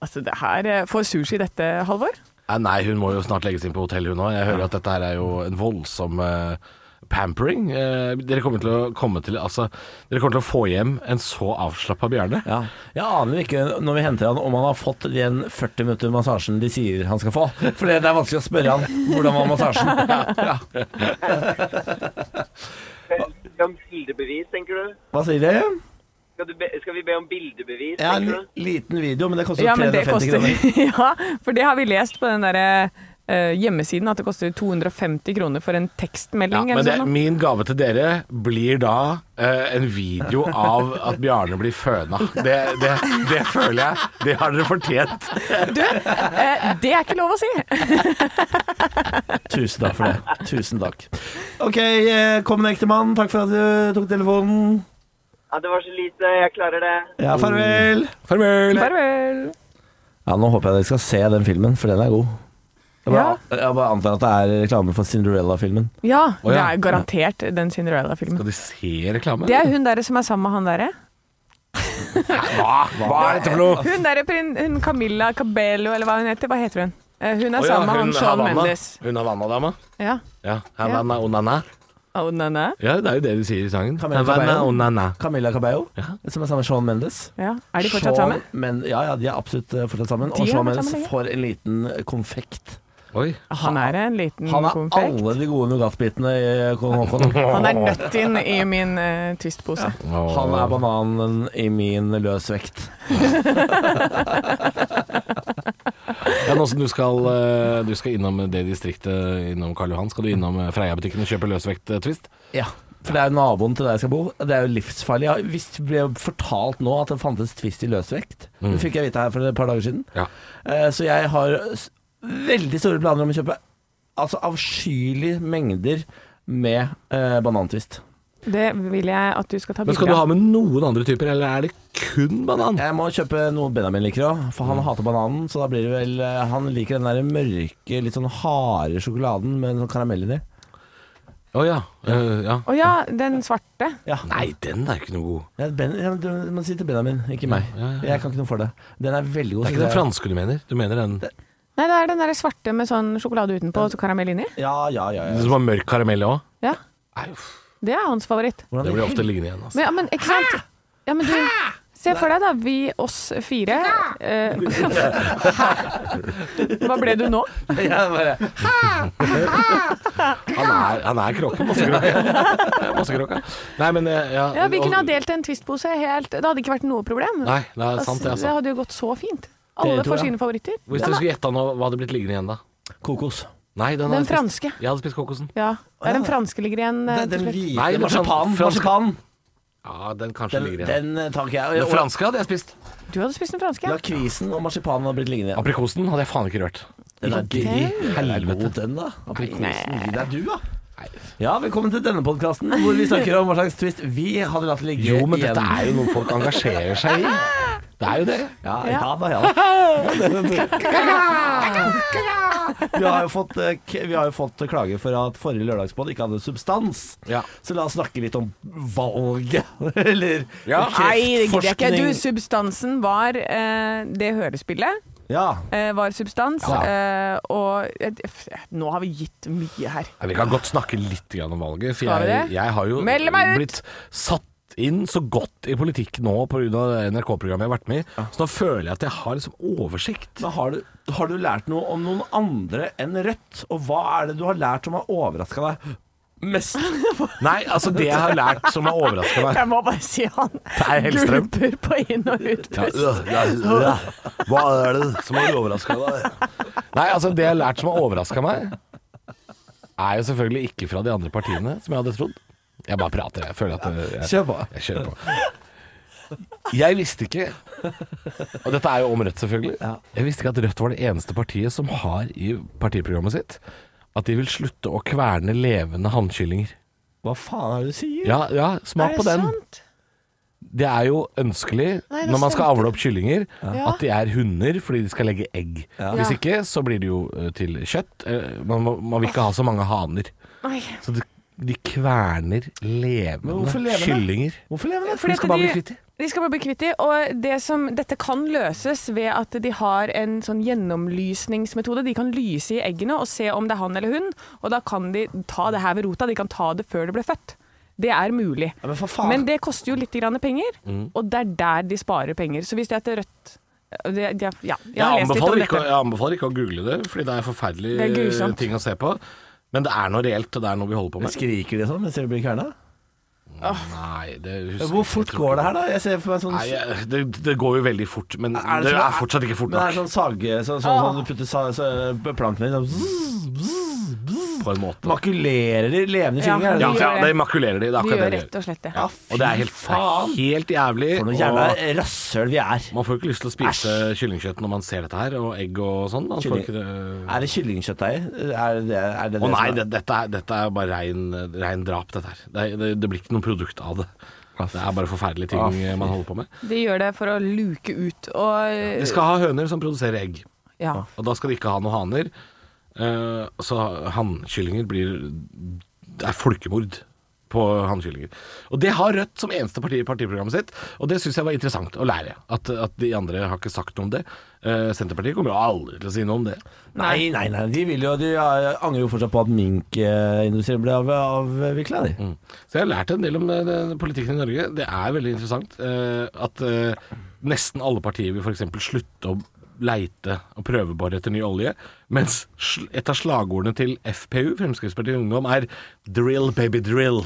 [SPEAKER 3] Altså, det her eh, Får sushi dette, Halvor?
[SPEAKER 2] Eh, Nei, hun må jo snart legges inn på hotell, hun òg. Jeg hører at dette her er jo en voldsom eh, pampering. Eh, dere kommer til å komme til Altså, dere kommer til å få hjem en så avslappa Bjarne.
[SPEAKER 1] Ja. Jeg aner jo ikke når vi henter han om han har fått den 40 minutter massasjen de sier han skal få. For det det er vanskelig å spørre han hvordan var massasjen.
[SPEAKER 9] Skal vi be om bildebevis, tenker du?
[SPEAKER 1] Hva sier de?
[SPEAKER 9] Skal, du be, skal vi be om bildebevis,
[SPEAKER 1] Ja,
[SPEAKER 9] tenker
[SPEAKER 1] en
[SPEAKER 9] du?
[SPEAKER 1] liten video, men det koster
[SPEAKER 3] Ja, men det
[SPEAKER 1] 350
[SPEAKER 3] koster
[SPEAKER 1] kroner.
[SPEAKER 3] (laughs) Ja, for det har vi lest på den derre eh, hjemmesiden, at det koster 250 kroner for en
[SPEAKER 2] Ja,
[SPEAKER 3] tekstmelding
[SPEAKER 2] men
[SPEAKER 3] eller
[SPEAKER 2] det,
[SPEAKER 3] sånn.
[SPEAKER 2] min gave til dere blir da eh, en video av at Bjarne blir føna. Det, det, det føler jeg. Det har dere fortjent.
[SPEAKER 3] Eh, det er ikke lov å si!
[SPEAKER 1] Tusen takk for det. Tusen takk. Ok, eh, kom en ektemann. Takk for at du tok telefonen.
[SPEAKER 9] Ja, det var så lite. Jeg klarer det.
[SPEAKER 1] Ja, farvel. Farvel.
[SPEAKER 3] Farvel.
[SPEAKER 1] Ja, Nå håper jeg dere skal se den filmen, for den er god. Jeg bare, jeg bare antar at det er reklame for Cinderella-filmen.
[SPEAKER 3] Ja, det
[SPEAKER 2] ja.
[SPEAKER 3] er garantert den Cinderella-filmen.
[SPEAKER 2] Skal de se reklame?
[SPEAKER 3] Det er hun derre som er sammen med han derre.
[SPEAKER 2] Hva? Hva er dette for noe?
[SPEAKER 3] Hun derre prin- hun Camilla Cabello, eller hva hun heter. Hva heter hun? Eh, Hun er
[SPEAKER 2] Å ja,
[SPEAKER 3] sammen med han
[SPEAKER 2] hun
[SPEAKER 3] Sean
[SPEAKER 2] Havana.
[SPEAKER 3] Mendes.
[SPEAKER 2] Hun Havanna-dama?
[SPEAKER 3] Ja.
[SPEAKER 2] Ja. Havana Onana.
[SPEAKER 3] Oh, nei, nei.
[SPEAKER 2] Ja, det er jo det de sier i sangen.
[SPEAKER 1] Camilla
[SPEAKER 2] Havana
[SPEAKER 1] Cabello.
[SPEAKER 2] Onana.
[SPEAKER 1] Camilla Cabello, som er sammen med Sean Mendes.
[SPEAKER 3] ja. Er de fortsatt
[SPEAKER 1] Shawn
[SPEAKER 3] sammen?
[SPEAKER 1] Men, ja, ja, de er absolutt eh, fortsatt sammen.
[SPEAKER 3] De
[SPEAKER 1] og
[SPEAKER 3] er
[SPEAKER 1] Shawn
[SPEAKER 3] fortsatt
[SPEAKER 1] Mendes
[SPEAKER 3] sammen, ja.
[SPEAKER 1] får en liten konfekt.
[SPEAKER 2] Oi.
[SPEAKER 3] Han er en liten
[SPEAKER 1] Han er
[SPEAKER 3] Mm, konfekt.
[SPEAKER 1] alle de gode nougatbitene i eh, Kong Haakon.
[SPEAKER 3] Han er nødt inn i min uh, twistpose.
[SPEAKER 1] Han er bananen i min løs vekt.
[SPEAKER 2] Ja, nå som du skal, eh, du skal innom det distriktet innom Karl Johan, skal du innom eh, Freia-butikken og kjøpe løsvekt-twist?
[SPEAKER 1] Ja, for det er jo naboen til der jeg skal bo. Det er jo livsfarlig. Jeg visst ble fortalt nå at det fantes Twist i løsvekt. Det fikk jeg vite her for et par dager siden.
[SPEAKER 2] Ja.
[SPEAKER 1] Eh, Så jeg har s- veldig store planer om å kjøpe altså avskyelige mengder med eh, banantvist.
[SPEAKER 3] Det vil jeg at du skal ta
[SPEAKER 2] Men skal du
[SPEAKER 3] bilde
[SPEAKER 2] ha
[SPEAKER 3] av.
[SPEAKER 2] med noen andre typer, eller er det kun banan?
[SPEAKER 1] Jeg må kjøpe noe Benjamin liker òg, for
[SPEAKER 2] Mm.
[SPEAKER 1] han hater bananen. Så da blir det vel eh, Han liker den der mørke, litt sånn harde sjokoladen med sånn karamell inni.
[SPEAKER 2] Å ja. eh, ja.
[SPEAKER 3] Å ja, den svarte.
[SPEAKER 1] Ja.
[SPEAKER 2] Nei, den er ikke noe god.
[SPEAKER 1] Ja, ben, ja, du må si til Benjamin, ikke meg.
[SPEAKER 2] Ja, ja, ja.
[SPEAKER 1] Jeg kan ikke noe for det. Den er veldig god.
[SPEAKER 3] Altså,
[SPEAKER 2] Det er ikke den
[SPEAKER 1] så det er-
[SPEAKER 2] franske du mener? Du mener den
[SPEAKER 3] Nei, det er den der svarte med sånn sjokolade utenpå og så karamell inni.
[SPEAKER 1] Ja, ja, ja. ja.
[SPEAKER 2] som har mørk karamell òg?
[SPEAKER 3] Ja,
[SPEAKER 2] Nei, uff.
[SPEAKER 3] det er hans favoritt.
[SPEAKER 1] Hvordan
[SPEAKER 2] Det blir ofte liggende igjen, altså.
[SPEAKER 3] Men, ja, men ikke sant? Ja, men du, se for deg da, vi oss fire eh, (laughs) Hva ble du nå?
[SPEAKER 1] (laughs) Ja, bare,
[SPEAKER 2] Han er, han er kråke, massekråke.
[SPEAKER 3] (laughs)
[SPEAKER 2] Massekråka. Nei, men eh, ja,
[SPEAKER 3] Ja, Vi kunne ha
[SPEAKER 2] og-
[SPEAKER 3] delt en Twist-pose helt Det hadde ikke vært noe problem.
[SPEAKER 2] Nei, det er sant, det.
[SPEAKER 3] Altså,
[SPEAKER 2] Altså.
[SPEAKER 3] hadde jo gått så fint. Alle
[SPEAKER 1] Dere to,
[SPEAKER 3] får
[SPEAKER 1] ja.
[SPEAKER 3] sine favoritter.
[SPEAKER 2] Hvis
[SPEAKER 3] Den
[SPEAKER 2] du
[SPEAKER 3] er-
[SPEAKER 2] skulle gjette nå, hva hadde blitt liggende igjen da?
[SPEAKER 1] kokos.
[SPEAKER 2] Nei, den,
[SPEAKER 3] Den
[SPEAKER 2] hadde spist-
[SPEAKER 3] franske.
[SPEAKER 2] Jeg hadde spist kokosen.
[SPEAKER 3] Ja. Det er den franske ligger igjen eh,
[SPEAKER 1] Den, den
[SPEAKER 3] til slutt.
[SPEAKER 1] hvite
[SPEAKER 2] Nei, men sånn
[SPEAKER 1] marsipan.
[SPEAKER 2] fransk-
[SPEAKER 1] marsipan.
[SPEAKER 2] Ja, den kanskje
[SPEAKER 1] Den,
[SPEAKER 2] ligger igjen.
[SPEAKER 1] den eh, tar ikke jeg.
[SPEAKER 2] Den
[SPEAKER 1] Og-
[SPEAKER 2] franske hadde jeg spist.
[SPEAKER 3] Du hadde spist den franske. ja.
[SPEAKER 1] Lakrisen og marsipanen har blitt liggende igjen.
[SPEAKER 2] Aprikosen hadde jeg faen ikke rørt.
[SPEAKER 1] Den er gøy. Den er god, den, da. Aprikosen. Gi deg, du, da. Ja, velkommen til denne podkasten hvor vi snakker om hva slags twist vi hadde latt ligge
[SPEAKER 2] Jo, men
[SPEAKER 1] igjen.
[SPEAKER 2] dette er jo noe folk engasjerer seg i. Det er jo det.
[SPEAKER 1] Ja, ja da,
[SPEAKER 3] (laughs)
[SPEAKER 1] ja da. Vi har jo fått, eh, k- vi har jo fått klager for at forrige lørdagsbånd ikke hadde substans. Så la oss snakke litt om valget, (laughs) eller
[SPEAKER 3] Nei, det gidder jeg ikke. Du,
[SPEAKER 1] kreftforskning.
[SPEAKER 3] substansen var eh, det hørespillet.
[SPEAKER 1] Ja.
[SPEAKER 3] eh, var substans.
[SPEAKER 2] Ja.
[SPEAKER 3] eh, og eh, f- nå har vi gitt mye her.
[SPEAKER 2] Nei, Vi kan godt snakke litt grann om valget, for
[SPEAKER 3] Skal vi
[SPEAKER 2] jeg,
[SPEAKER 3] det?
[SPEAKER 2] jeg har jo
[SPEAKER 3] Meld meg ut!
[SPEAKER 2] blitt satt inn så godt i politikk nå pga. NRK-programmet jeg har vært med i, så nå føler jeg at jeg har liksom oversikt.
[SPEAKER 1] Men har, du, har du lært noe om noen andre enn Rødt? Og hva er det du har lært som har overraska deg mest?
[SPEAKER 2] Nei, altså det jeg har lært som har overraska meg
[SPEAKER 3] Jeg må bare si han
[SPEAKER 2] er Hellstrøm.
[SPEAKER 3] gulper på inn- og
[SPEAKER 2] Ja,
[SPEAKER 3] utpust.
[SPEAKER 2] ja, ja, ja. Hva er det som har overraska deg? Nei, altså det jeg har lært som har overraska meg, er jo selvfølgelig ikke fra de andre partiene, som jeg hadde trodd. Jeg bare prater, jeg føler at jeg,
[SPEAKER 1] Kjør på.
[SPEAKER 2] Jeg kjører på. Jeg visste ikke Og dette er jo om Rødt, selvfølgelig. Jeg visste ikke at Rødt var det eneste partiet som har i partiprogrammet sitt at de vil slutte å kverne levende hannkyllinger.
[SPEAKER 1] Hva faen er det du sier?
[SPEAKER 2] Ja, ja, smak
[SPEAKER 3] Er
[SPEAKER 2] på
[SPEAKER 3] det
[SPEAKER 2] den.
[SPEAKER 3] sant?
[SPEAKER 2] Det er jo ønskelig
[SPEAKER 3] Nei, det
[SPEAKER 2] når man skal
[SPEAKER 3] stemte.
[SPEAKER 2] avle opp kyllinger,
[SPEAKER 3] Ja.
[SPEAKER 2] at de er hunder fordi de skal legge egg. Hvis
[SPEAKER 3] Ja.
[SPEAKER 2] ikke så blir det jo eh, til kjøtt. Eh, Man, må- man vil ikke ha så mange haner.
[SPEAKER 3] Nei.
[SPEAKER 2] Så de, de kverner
[SPEAKER 1] Men hvorfor
[SPEAKER 2] levende
[SPEAKER 1] levende?
[SPEAKER 2] kyllinger.
[SPEAKER 1] Hvorfor lever
[SPEAKER 3] Fordi
[SPEAKER 1] det?
[SPEAKER 3] at
[SPEAKER 2] skal bare
[SPEAKER 3] de-
[SPEAKER 2] bli kvitt de.
[SPEAKER 3] De skal bare bli kvitt de. Og det som, dette kan løses ved at de har en sånn gjennomlysningsmetode. De kan lyse i eggene og se om det er han eller hun, og da kan de ta det her ved rota. De kan ta det før det ble født. Det er mulig.
[SPEAKER 1] Ja, men for
[SPEAKER 2] Ah.
[SPEAKER 1] faen.
[SPEAKER 3] Men det koster jo litt grann penger,
[SPEAKER 2] Mm.
[SPEAKER 3] og det er der de sparer penger. Så hvis det er til Rødt det, det, Ja, jeg har
[SPEAKER 2] jeg
[SPEAKER 3] lest litt om
[SPEAKER 2] anbefaler, ikke,
[SPEAKER 3] dette.
[SPEAKER 2] å- jeg anbefaler ikke å google det, fordi det er
[SPEAKER 3] Det er
[SPEAKER 2] forferdelige
[SPEAKER 3] grusomt.
[SPEAKER 2] ting å se på. Men det er noe reelt, og det er noe vi holder på
[SPEAKER 1] Men
[SPEAKER 2] med.
[SPEAKER 1] Skriker de sånn mens de blir kverna?
[SPEAKER 2] Nei, det husker
[SPEAKER 1] Hvor fort går det her, da? Jeg ser for meg sånn
[SPEAKER 2] Nei, jeg- det, det går jo veldig fort, men det,
[SPEAKER 1] Er det sånn-
[SPEAKER 2] er fortsatt ikke fort
[SPEAKER 1] Men det er
[SPEAKER 2] nok. Ah.
[SPEAKER 1] sånn sage Sånn sånn, sånn du putter sa, så, plankene i sånn zzz, zzz, zzz.
[SPEAKER 2] På en måte.
[SPEAKER 1] Makulerer de levende
[SPEAKER 3] Ja,
[SPEAKER 1] kyllinger? er det
[SPEAKER 2] Ja,
[SPEAKER 1] det?
[SPEAKER 3] de
[SPEAKER 2] ja,
[SPEAKER 3] gjør det.
[SPEAKER 2] det makulerer de. Det er
[SPEAKER 3] De
[SPEAKER 2] akkurat det
[SPEAKER 3] gjør
[SPEAKER 2] de
[SPEAKER 3] rett
[SPEAKER 2] gjør.
[SPEAKER 3] og slett det.
[SPEAKER 1] Ja,
[SPEAKER 2] Og det er helt, det er helt jævlig.
[SPEAKER 1] For noe
[SPEAKER 2] og
[SPEAKER 1] jævla rasshøl vi er.
[SPEAKER 2] man får jo ikke lyst til å spise kyllingkjøtt når man ser dette her, og egg og sånn. Man får
[SPEAKER 1] Kylling.
[SPEAKER 2] ikke det
[SPEAKER 1] Er det kyllingkjøttdeig? Er det er det, det
[SPEAKER 2] Å nei,
[SPEAKER 1] som er-
[SPEAKER 2] det, dette, er, dette er bare rein, rein drap, dette her. Det, er- det, det blir ikke noe produkt av det. Det er bare forferdelige ting
[SPEAKER 1] Ah, fy.
[SPEAKER 2] man holder på med.
[SPEAKER 3] De gjør det for å luke ut
[SPEAKER 2] Vi
[SPEAKER 3] og
[SPEAKER 2] skal ha høner som produserer egg,
[SPEAKER 3] Ja.
[SPEAKER 2] og da skal de ikke ha noen haner. Eh, så hannkyllinger blir Det er folkemord på hannkyllinger. Og det har Rødt som eneste parti i partiprogrammet sitt, og det syns jeg var interessant å lære. At, at de andre har ikke sagt noe om det. Eh, Senterpartiet kommer jo aldri til å si noe om det.
[SPEAKER 1] Nei, nei, nei. De, vil jo, de eh, angrer jo fortsatt på at minkindustrien ble av- avvikla, de.
[SPEAKER 2] Så jeg har lært en del om eh, den politikken i Norge. Det er veldig interessant eh, at eh, nesten alle partier vil f.eks. slutte å leite og prøvebore etter ny olje, mens sl- et av slagordene til FPU, Fremskrittspartiet Ungdom, er 'drill, baby,
[SPEAKER 1] (laughs)
[SPEAKER 2] drill'.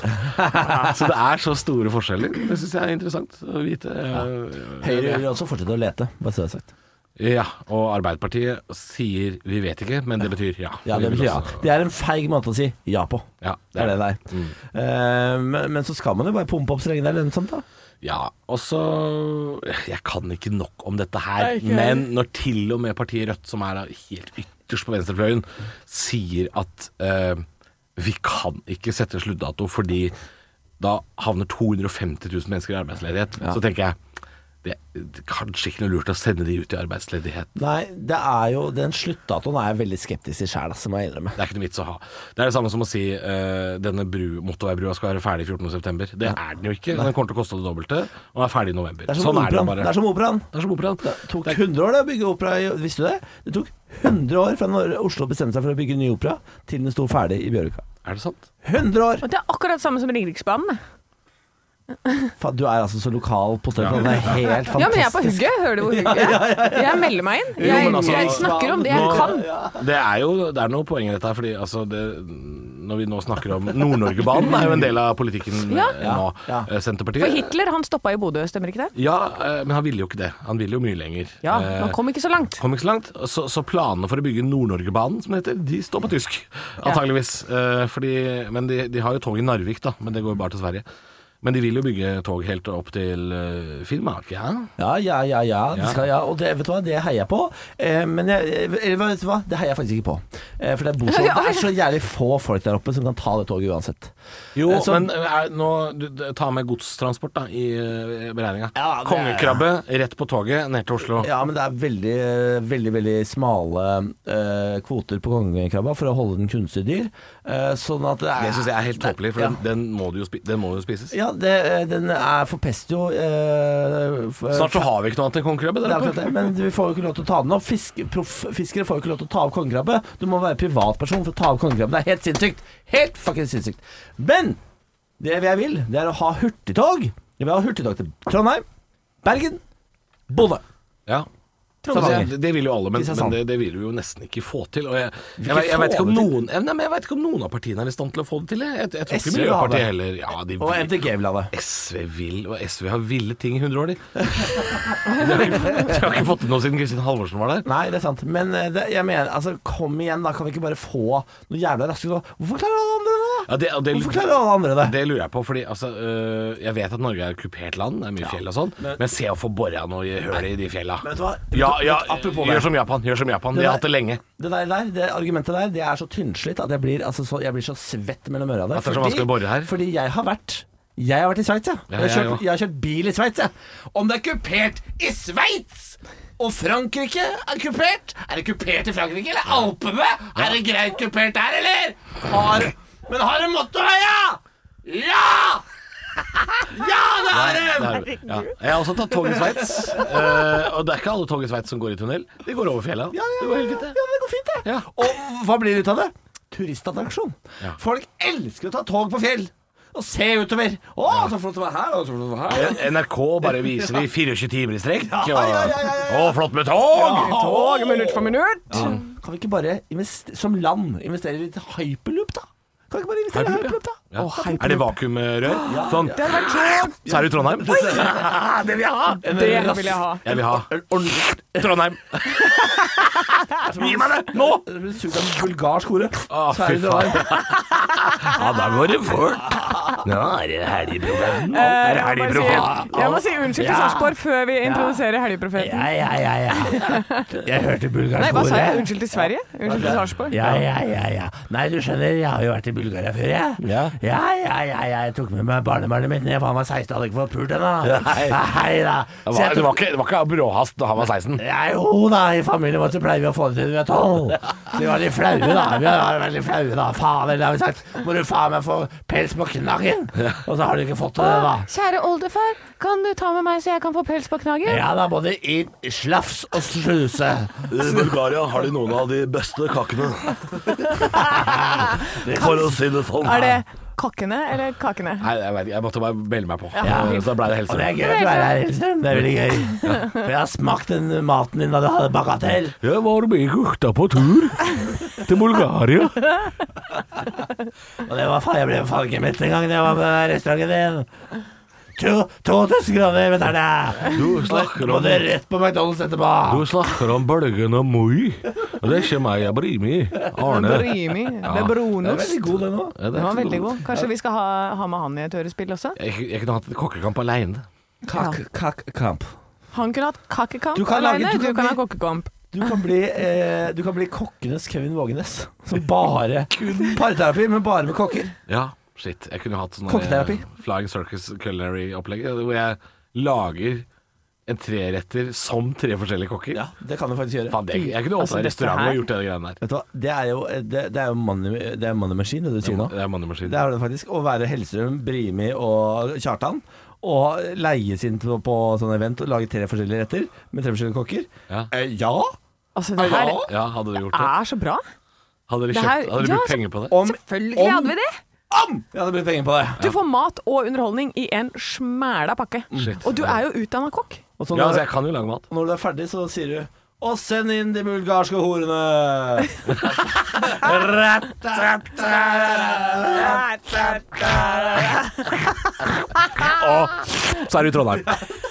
[SPEAKER 2] så det er så store forskjeller. Det syns jeg er interessant å vite. Eh,
[SPEAKER 1] Høyre vil også fortsette å lete, bare så det er sagt.
[SPEAKER 2] ja, og Arbeiderpartiet sier 'vi vet ikke', men det betyr ja.
[SPEAKER 1] Ja, det
[SPEAKER 2] Vi vil
[SPEAKER 1] betyr ja.
[SPEAKER 2] også-
[SPEAKER 1] Det er en feig måte å si ja på.
[SPEAKER 2] Ja,
[SPEAKER 1] Det er det det er. Eh, men, men så skal man jo bare pumpe opp strengene lønnsomt, da.
[SPEAKER 2] Ja, og så Jeg kan ikke nok om dette her, men når til og med partiet Rødt, som er da helt ytterst på venstrefløyen, sier at eh, vi kan ikke sette sluttdato fordi da havner 250 000 mennesker i arbeidsledighet, så tenker jeg det det er kanskje ikke noe lurt å sende de ut i arbeidsledighet.
[SPEAKER 1] Nei, det er jo Den sluttdatoen er jeg veldig skeptisk til sjæl, må jeg innrømme.
[SPEAKER 2] Det er ikke noe vits å ha. Det er det samme som å si eh, denne bru, motorveibrua skal være ferdig 14.9. Det er den jo ikke. Den kommer til å koste det dobbelte, og er ferdig i november.
[SPEAKER 1] Det er som
[SPEAKER 2] sånn er det
[SPEAKER 1] operaen.
[SPEAKER 2] bare.
[SPEAKER 1] Det er som operaen.
[SPEAKER 2] Det er som operaen.
[SPEAKER 1] Det tok 100 år da, å bygge opera i Visste du det? Det tok 100 år fra når Oslo bestemte seg for å bygge ny opera, til den sto ferdig i Bjørvika.
[SPEAKER 2] Er det sant?
[SPEAKER 1] 100 år!
[SPEAKER 3] Og det er akkurat samme som Ringeriksbanen.
[SPEAKER 1] Faen, du er altså så lokal på stedet. Det er helt fantastisk.
[SPEAKER 3] Ja, men jeg er på hugget. Hører du (laughs) hvor hugget er? Jeg melder meg inn. Jeg,
[SPEAKER 2] men altså-
[SPEAKER 3] jeg snakker om det jeg
[SPEAKER 2] Nå-
[SPEAKER 3] kan.
[SPEAKER 2] Det er jo det er noe poeng i dette her, fordi altså det, når vi nå snakker om Nord-Norgebanen er jo en del av politikken
[SPEAKER 3] Ja.
[SPEAKER 2] eh, nå.
[SPEAKER 1] Ja.
[SPEAKER 2] Eh, Senterpartiet
[SPEAKER 3] For Hitler han stoppa i Bodø, stemmer ikke det?
[SPEAKER 2] Ja, eh, men han ville jo ikke det. Han ville jo mye lenger.
[SPEAKER 3] Ja,
[SPEAKER 2] Eh,
[SPEAKER 3] Man kom ikke så langt.
[SPEAKER 2] Kom ikke så langt. Så, så planene for å bygge Nord-Norgebanen, som det heter, de står på tysk. Antageligvis. Eh, fordi, men de, de har jo tog i Narvik, da. Men det går jo bare til Sverige. Men de vil jo bygge tog helt opp til eh, Finnmark, ja?
[SPEAKER 1] Ja, ja, ja, ja.
[SPEAKER 2] Ja.
[SPEAKER 1] Det skal, ja. Og det, vet du hva, det heier jeg på. Eh, men jeg, eller vet du hva, det heier jeg faktisk ikke på. Eh, for det er, bortsett, det er så jævlig få folk der oppe som kan ta det toget uansett.
[SPEAKER 2] Jo,
[SPEAKER 1] Eh, så-
[SPEAKER 2] men er, nå, du, d- ta med godstransport da, i eh, beregninga.
[SPEAKER 1] Ja, det er-
[SPEAKER 2] Kongekrabbe rett på toget ned til Oslo.
[SPEAKER 1] Ja, men det er veldig, veldig veldig smale eh, kvoter på kongekrabba for å holde den kunstig dyr. Eh, sånn at det er
[SPEAKER 2] Det syns jeg er helt tåpelig, for den, den, må du jo spi den må jo spises.
[SPEAKER 1] Ja, det, eh, den er forpester jo eh, f-
[SPEAKER 2] Snart så har vi ikke noe annet enn kongekrabbe.
[SPEAKER 1] det
[SPEAKER 2] dere.
[SPEAKER 1] er akkurat det, men vi får jo ikke lov til å ta den opp. Fisk, Profffiskere får jo ikke lov til å ta opp kongekrabbe. Du må være privatperson for å ta opp kongekrabbe. Det er helt sinnssykt. Helt fucking sinnssykt. Men det jeg vil, det er å ha hurtigtog. Jeg vil ha hurtigtog til Trondheim, Bergen, Bodø.
[SPEAKER 2] Ja.
[SPEAKER 1] Stavanger.
[SPEAKER 2] Det, det vil jo alle, men,
[SPEAKER 1] Kristiansand.
[SPEAKER 2] men det, det vil vi jo nesten ikke få til. Og jeg, jeg,
[SPEAKER 1] ikke
[SPEAKER 2] jeg, vet
[SPEAKER 1] få
[SPEAKER 2] ikke om
[SPEAKER 1] det til?
[SPEAKER 2] noen, ja, nei, men jeg vet ikke om noen av partiene er i stand til å få det til. Jeg, jeg, jeg tror ikke
[SPEAKER 1] SV vil ha det.
[SPEAKER 2] Miljøpartiet heller ja, de
[SPEAKER 1] Og
[SPEAKER 2] vil,
[SPEAKER 1] MDG vil ha det.
[SPEAKER 2] SV vil, og SV har ville ting i 100 år, de. (laughs) De har ikke, de har ikke fått til noe siden Kristin Halvorsen var der.
[SPEAKER 1] Nei, det er sant. Men eh, det, jeg mener, altså, kom igjen, da. Kan vi ikke bare få noe jævla raskere nå? Hvorfor klarer alle andre det, da?
[SPEAKER 2] Ja, det, og det,
[SPEAKER 1] Hvorfor klarer alle andre det?
[SPEAKER 2] det lurer jeg på, fordi altså, øh, jeg vet at Norge er et kupert land, det er mye fjell og sånn, men, se å få bora noe høl i de fjella.
[SPEAKER 1] Men vet du hva?
[SPEAKER 2] Ja, ja,
[SPEAKER 1] Apropos det.
[SPEAKER 2] gjør som Japan, gjør som Japan.
[SPEAKER 1] Det
[SPEAKER 2] De
[SPEAKER 1] der-
[SPEAKER 2] har hatt det lenge.
[SPEAKER 1] Det der, der, det argumentet der, det er så tynnslitt at jeg blir, altså, så, jeg blir så svett mellom øra av det.
[SPEAKER 2] At det er så vanskelig å bore her?
[SPEAKER 1] Fordi jeg har vært jeg har vært i Sveits, jeg.
[SPEAKER 2] Ja,
[SPEAKER 1] jeg, har
[SPEAKER 2] jeg
[SPEAKER 1] kjørt,
[SPEAKER 2] òg.
[SPEAKER 1] jeg har kjørt bil i Sveits, jeg. Om det er kupert i Sveits! Og Frankrike er kupert! Er det kupert i Frankrike, eller Alpene? Er det greit kupert der, eller? Har, men har det motorvei, ja? Ja! (laughs) Ja, det har det!
[SPEAKER 2] Det er- Ja. Jeg har også tatt tog i Sveits, eh, og det er ikke alle tog i Sveits som går i tunnel. De går over fjella.
[SPEAKER 1] Ja, ja,
[SPEAKER 2] Det går helt fint, det.
[SPEAKER 1] Ja, det går fint, det.
[SPEAKER 2] Ja.
[SPEAKER 1] Og hva blir det ut av det? Turistattraksjon.
[SPEAKER 2] Ja.
[SPEAKER 1] Folk elsker å ta tog på fjell og se utover. Å, så flott det var her, og så flott det var her.
[SPEAKER 2] NRK bare viser de 24 timer i strekk.
[SPEAKER 1] Ja,
[SPEAKER 2] Og,
[SPEAKER 1] ja, ja, ja, ja.
[SPEAKER 2] Å, flott med tog!
[SPEAKER 1] Tog,
[SPEAKER 3] Tog minutt for minutt.
[SPEAKER 1] Kan vi ikke bare investe- som land investere litt i hyperloop, da? Kan vi ikke bare investere i
[SPEAKER 2] Hyperloop,
[SPEAKER 1] hyperloop, da?
[SPEAKER 2] Ja.
[SPEAKER 1] Å, hyperloop.
[SPEAKER 2] Er det vakuumrør? Sånn,
[SPEAKER 3] Det hadde vært så
[SPEAKER 2] så er det Trondheim. Det vil jeg ha!
[SPEAKER 3] Det vil jeg ha.
[SPEAKER 2] Jeg vil ha
[SPEAKER 1] (laughs)
[SPEAKER 2] Trondheim. Gi meg det nå!
[SPEAKER 1] Det blir sugd av en bulgarsk hore.
[SPEAKER 2] Å,
[SPEAKER 1] Så er
[SPEAKER 2] fy
[SPEAKER 1] det det
[SPEAKER 2] faen. Ja, da går det fort. Nå er det helgeprofeten. Nå er det
[SPEAKER 3] Eh, Jeg må, bare
[SPEAKER 2] helgeprofeten.
[SPEAKER 3] si, jeg må si unnskyld til Sarpsborg før vi introduserer Helgeprofeten.
[SPEAKER 1] Ja, ja, ja, ja. Jeg hørte
[SPEAKER 3] Nei,
[SPEAKER 1] bulgarsk
[SPEAKER 3] hva sa
[SPEAKER 1] hore.
[SPEAKER 3] jeg? Unnskyld til Sverige? Unnskyld til Sarpsborg?
[SPEAKER 1] Ja, ja, ja, ja. Nei, du skjønner, jeg har jo vært i Bulgaria før, jeg.
[SPEAKER 2] Ja.
[SPEAKER 1] ja, ja, ja, ja. Jeg tok med meg barnebarnet mitt når jeg var 16, hadde ikke fått pult ennå.
[SPEAKER 2] Nei.
[SPEAKER 1] da.
[SPEAKER 2] Det
[SPEAKER 1] Så
[SPEAKER 2] var,
[SPEAKER 1] jeg
[SPEAKER 2] det
[SPEAKER 1] tok
[SPEAKER 2] var ikke, det var ikke bråhast da han var 16.
[SPEAKER 1] ja, jo da, i familien vår så pleier vi å få det til når vi er tolv. Så vi var litt flaue, da. Vi var veldig flaue, da. Faen, eller har vi sagt. Må du faen meg få pels på knaggen? Og så har du ikke fått det, da.
[SPEAKER 3] Kjære oldefar, kan du ta med meg så jeg kan få pels på knaggen?
[SPEAKER 1] Ja da, både inn, slafs og sluse.
[SPEAKER 6] I Bulgaria har de noen av de beste kakene. For å si det sånn.
[SPEAKER 3] Er det kokkene eller kakene?
[SPEAKER 2] Nei, jeg vet ikke, jeg måtte bare melde meg på.
[SPEAKER 1] Ja.
[SPEAKER 2] Eh, Så da ble det
[SPEAKER 1] Og det
[SPEAKER 2] helse.
[SPEAKER 1] er gøy at du er her, Hellstrøm. Det er veldig gøy. For jeg har smakt den maten din da du hadde bagatell.
[SPEAKER 2] Jeg var med gutta på tur til
[SPEAKER 3] (laughs)
[SPEAKER 2] Bulgaria.
[SPEAKER 1] Og det var faen, jeg ble faen ikke mett engang da jeg var på den restauranten din. To, 2000 kroner betalte jeg!
[SPEAKER 2] Du snakker om,
[SPEAKER 1] Måtte rett på McDonald's etterpå.
[SPEAKER 2] du snakker om bølgen og moi. Og det er ikke meg jeg bryr meg i. Arne.
[SPEAKER 3] Brimi. Det er brunost.
[SPEAKER 1] god, den òg.
[SPEAKER 2] Ja, det er
[SPEAKER 3] Den var
[SPEAKER 2] ikke så
[SPEAKER 3] veldig god. Kanskje vi skal ha, ha med han i et hørespill også?
[SPEAKER 2] Jeg, jeg kunne hatt et kokkekamp aleine.
[SPEAKER 1] Kakk, kakk, kamp.
[SPEAKER 3] Han kunne hatt kakkekamp
[SPEAKER 1] Du kan lage-
[SPEAKER 3] alene,
[SPEAKER 1] du kan
[SPEAKER 3] du kan,
[SPEAKER 1] bli-
[SPEAKER 3] ha kokkekamp.
[SPEAKER 1] Du kan bli, eh, du kan bli kokkenes Kevin Vågenes. Som bare Parterapi, men bare med kokker.
[SPEAKER 2] Ja, shit. Jeg kunne hatt sånn
[SPEAKER 1] Kokketerapi.
[SPEAKER 2] eh, Flying Circus Culinary-opplegg, eh, hvor jeg lager en treretter som tre forskjellige kokker.
[SPEAKER 1] Ja, det kan du faktisk gjøre.
[SPEAKER 2] Faen, det, jeg kunne
[SPEAKER 3] Altså,
[SPEAKER 2] åpna
[SPEAKER 3] dette
[SPEAKER 2] restaurant
[SPEAKER 3] her-
[SPEAKER 2] og gjort det greiene der.
[SPEAKER 1] Vet du hva, det er jo eh, Det, det er jo money, det er money machine, det du sier nå.
[SPEAKER 2] Det er mannemaskin.
[SPEAKER 1] Det er det faktisk. Å være Hellstrøm, Brimi og Kjartan. Og leies inn på, på sånn event og lage tre forskjellige retter med tre forskjellige kokker.
[SPEAKER 2] Ja.
[SPEAKER 1] Eh, ja.
[SPEAKER 3] Altså, det her
[SPEAKER 2] Ja, hadde du gjort det?
[SPEAKER 3] er så bra.
[SPEAKER 2] Hadde dere
[SPEAKER 3] Ah. Det
[SPEAKER 2] kjøpt,
[SPEAKER 3] her-
[SPEAKER 2] hadde dere
[SPEAKER 3] ja, altså-
[SPEAKER 2] brukt
[SPEAKER 3] så-
[SPEAKER 2] penger på det?
[SPEAKER 1] Om,
[SPEAKER 3] Selvfølgelig hadde vi det.
[SPEAKER 1] om jeg hadde brukt penger på det.
[SPEAKER 3] Du får mat og underholdning i en smæla pakke.
[SPEAKER 1] Mm.
[SPEAKER 2] Shit.
[SPEAKER 3] Og du er jo utdanna kokk.
[SPEAKER 1] Og så
[SPEAKER 2] Ja,
[SPEAKER 1] når,
[SPEAKER 2] altså, jeg kan jo lage mat.
[SPEAKER 1] når du er ferdig, så sier du og send inn de bulgarske horene!
[SPEAKER 2] Og så er du i Trondheim.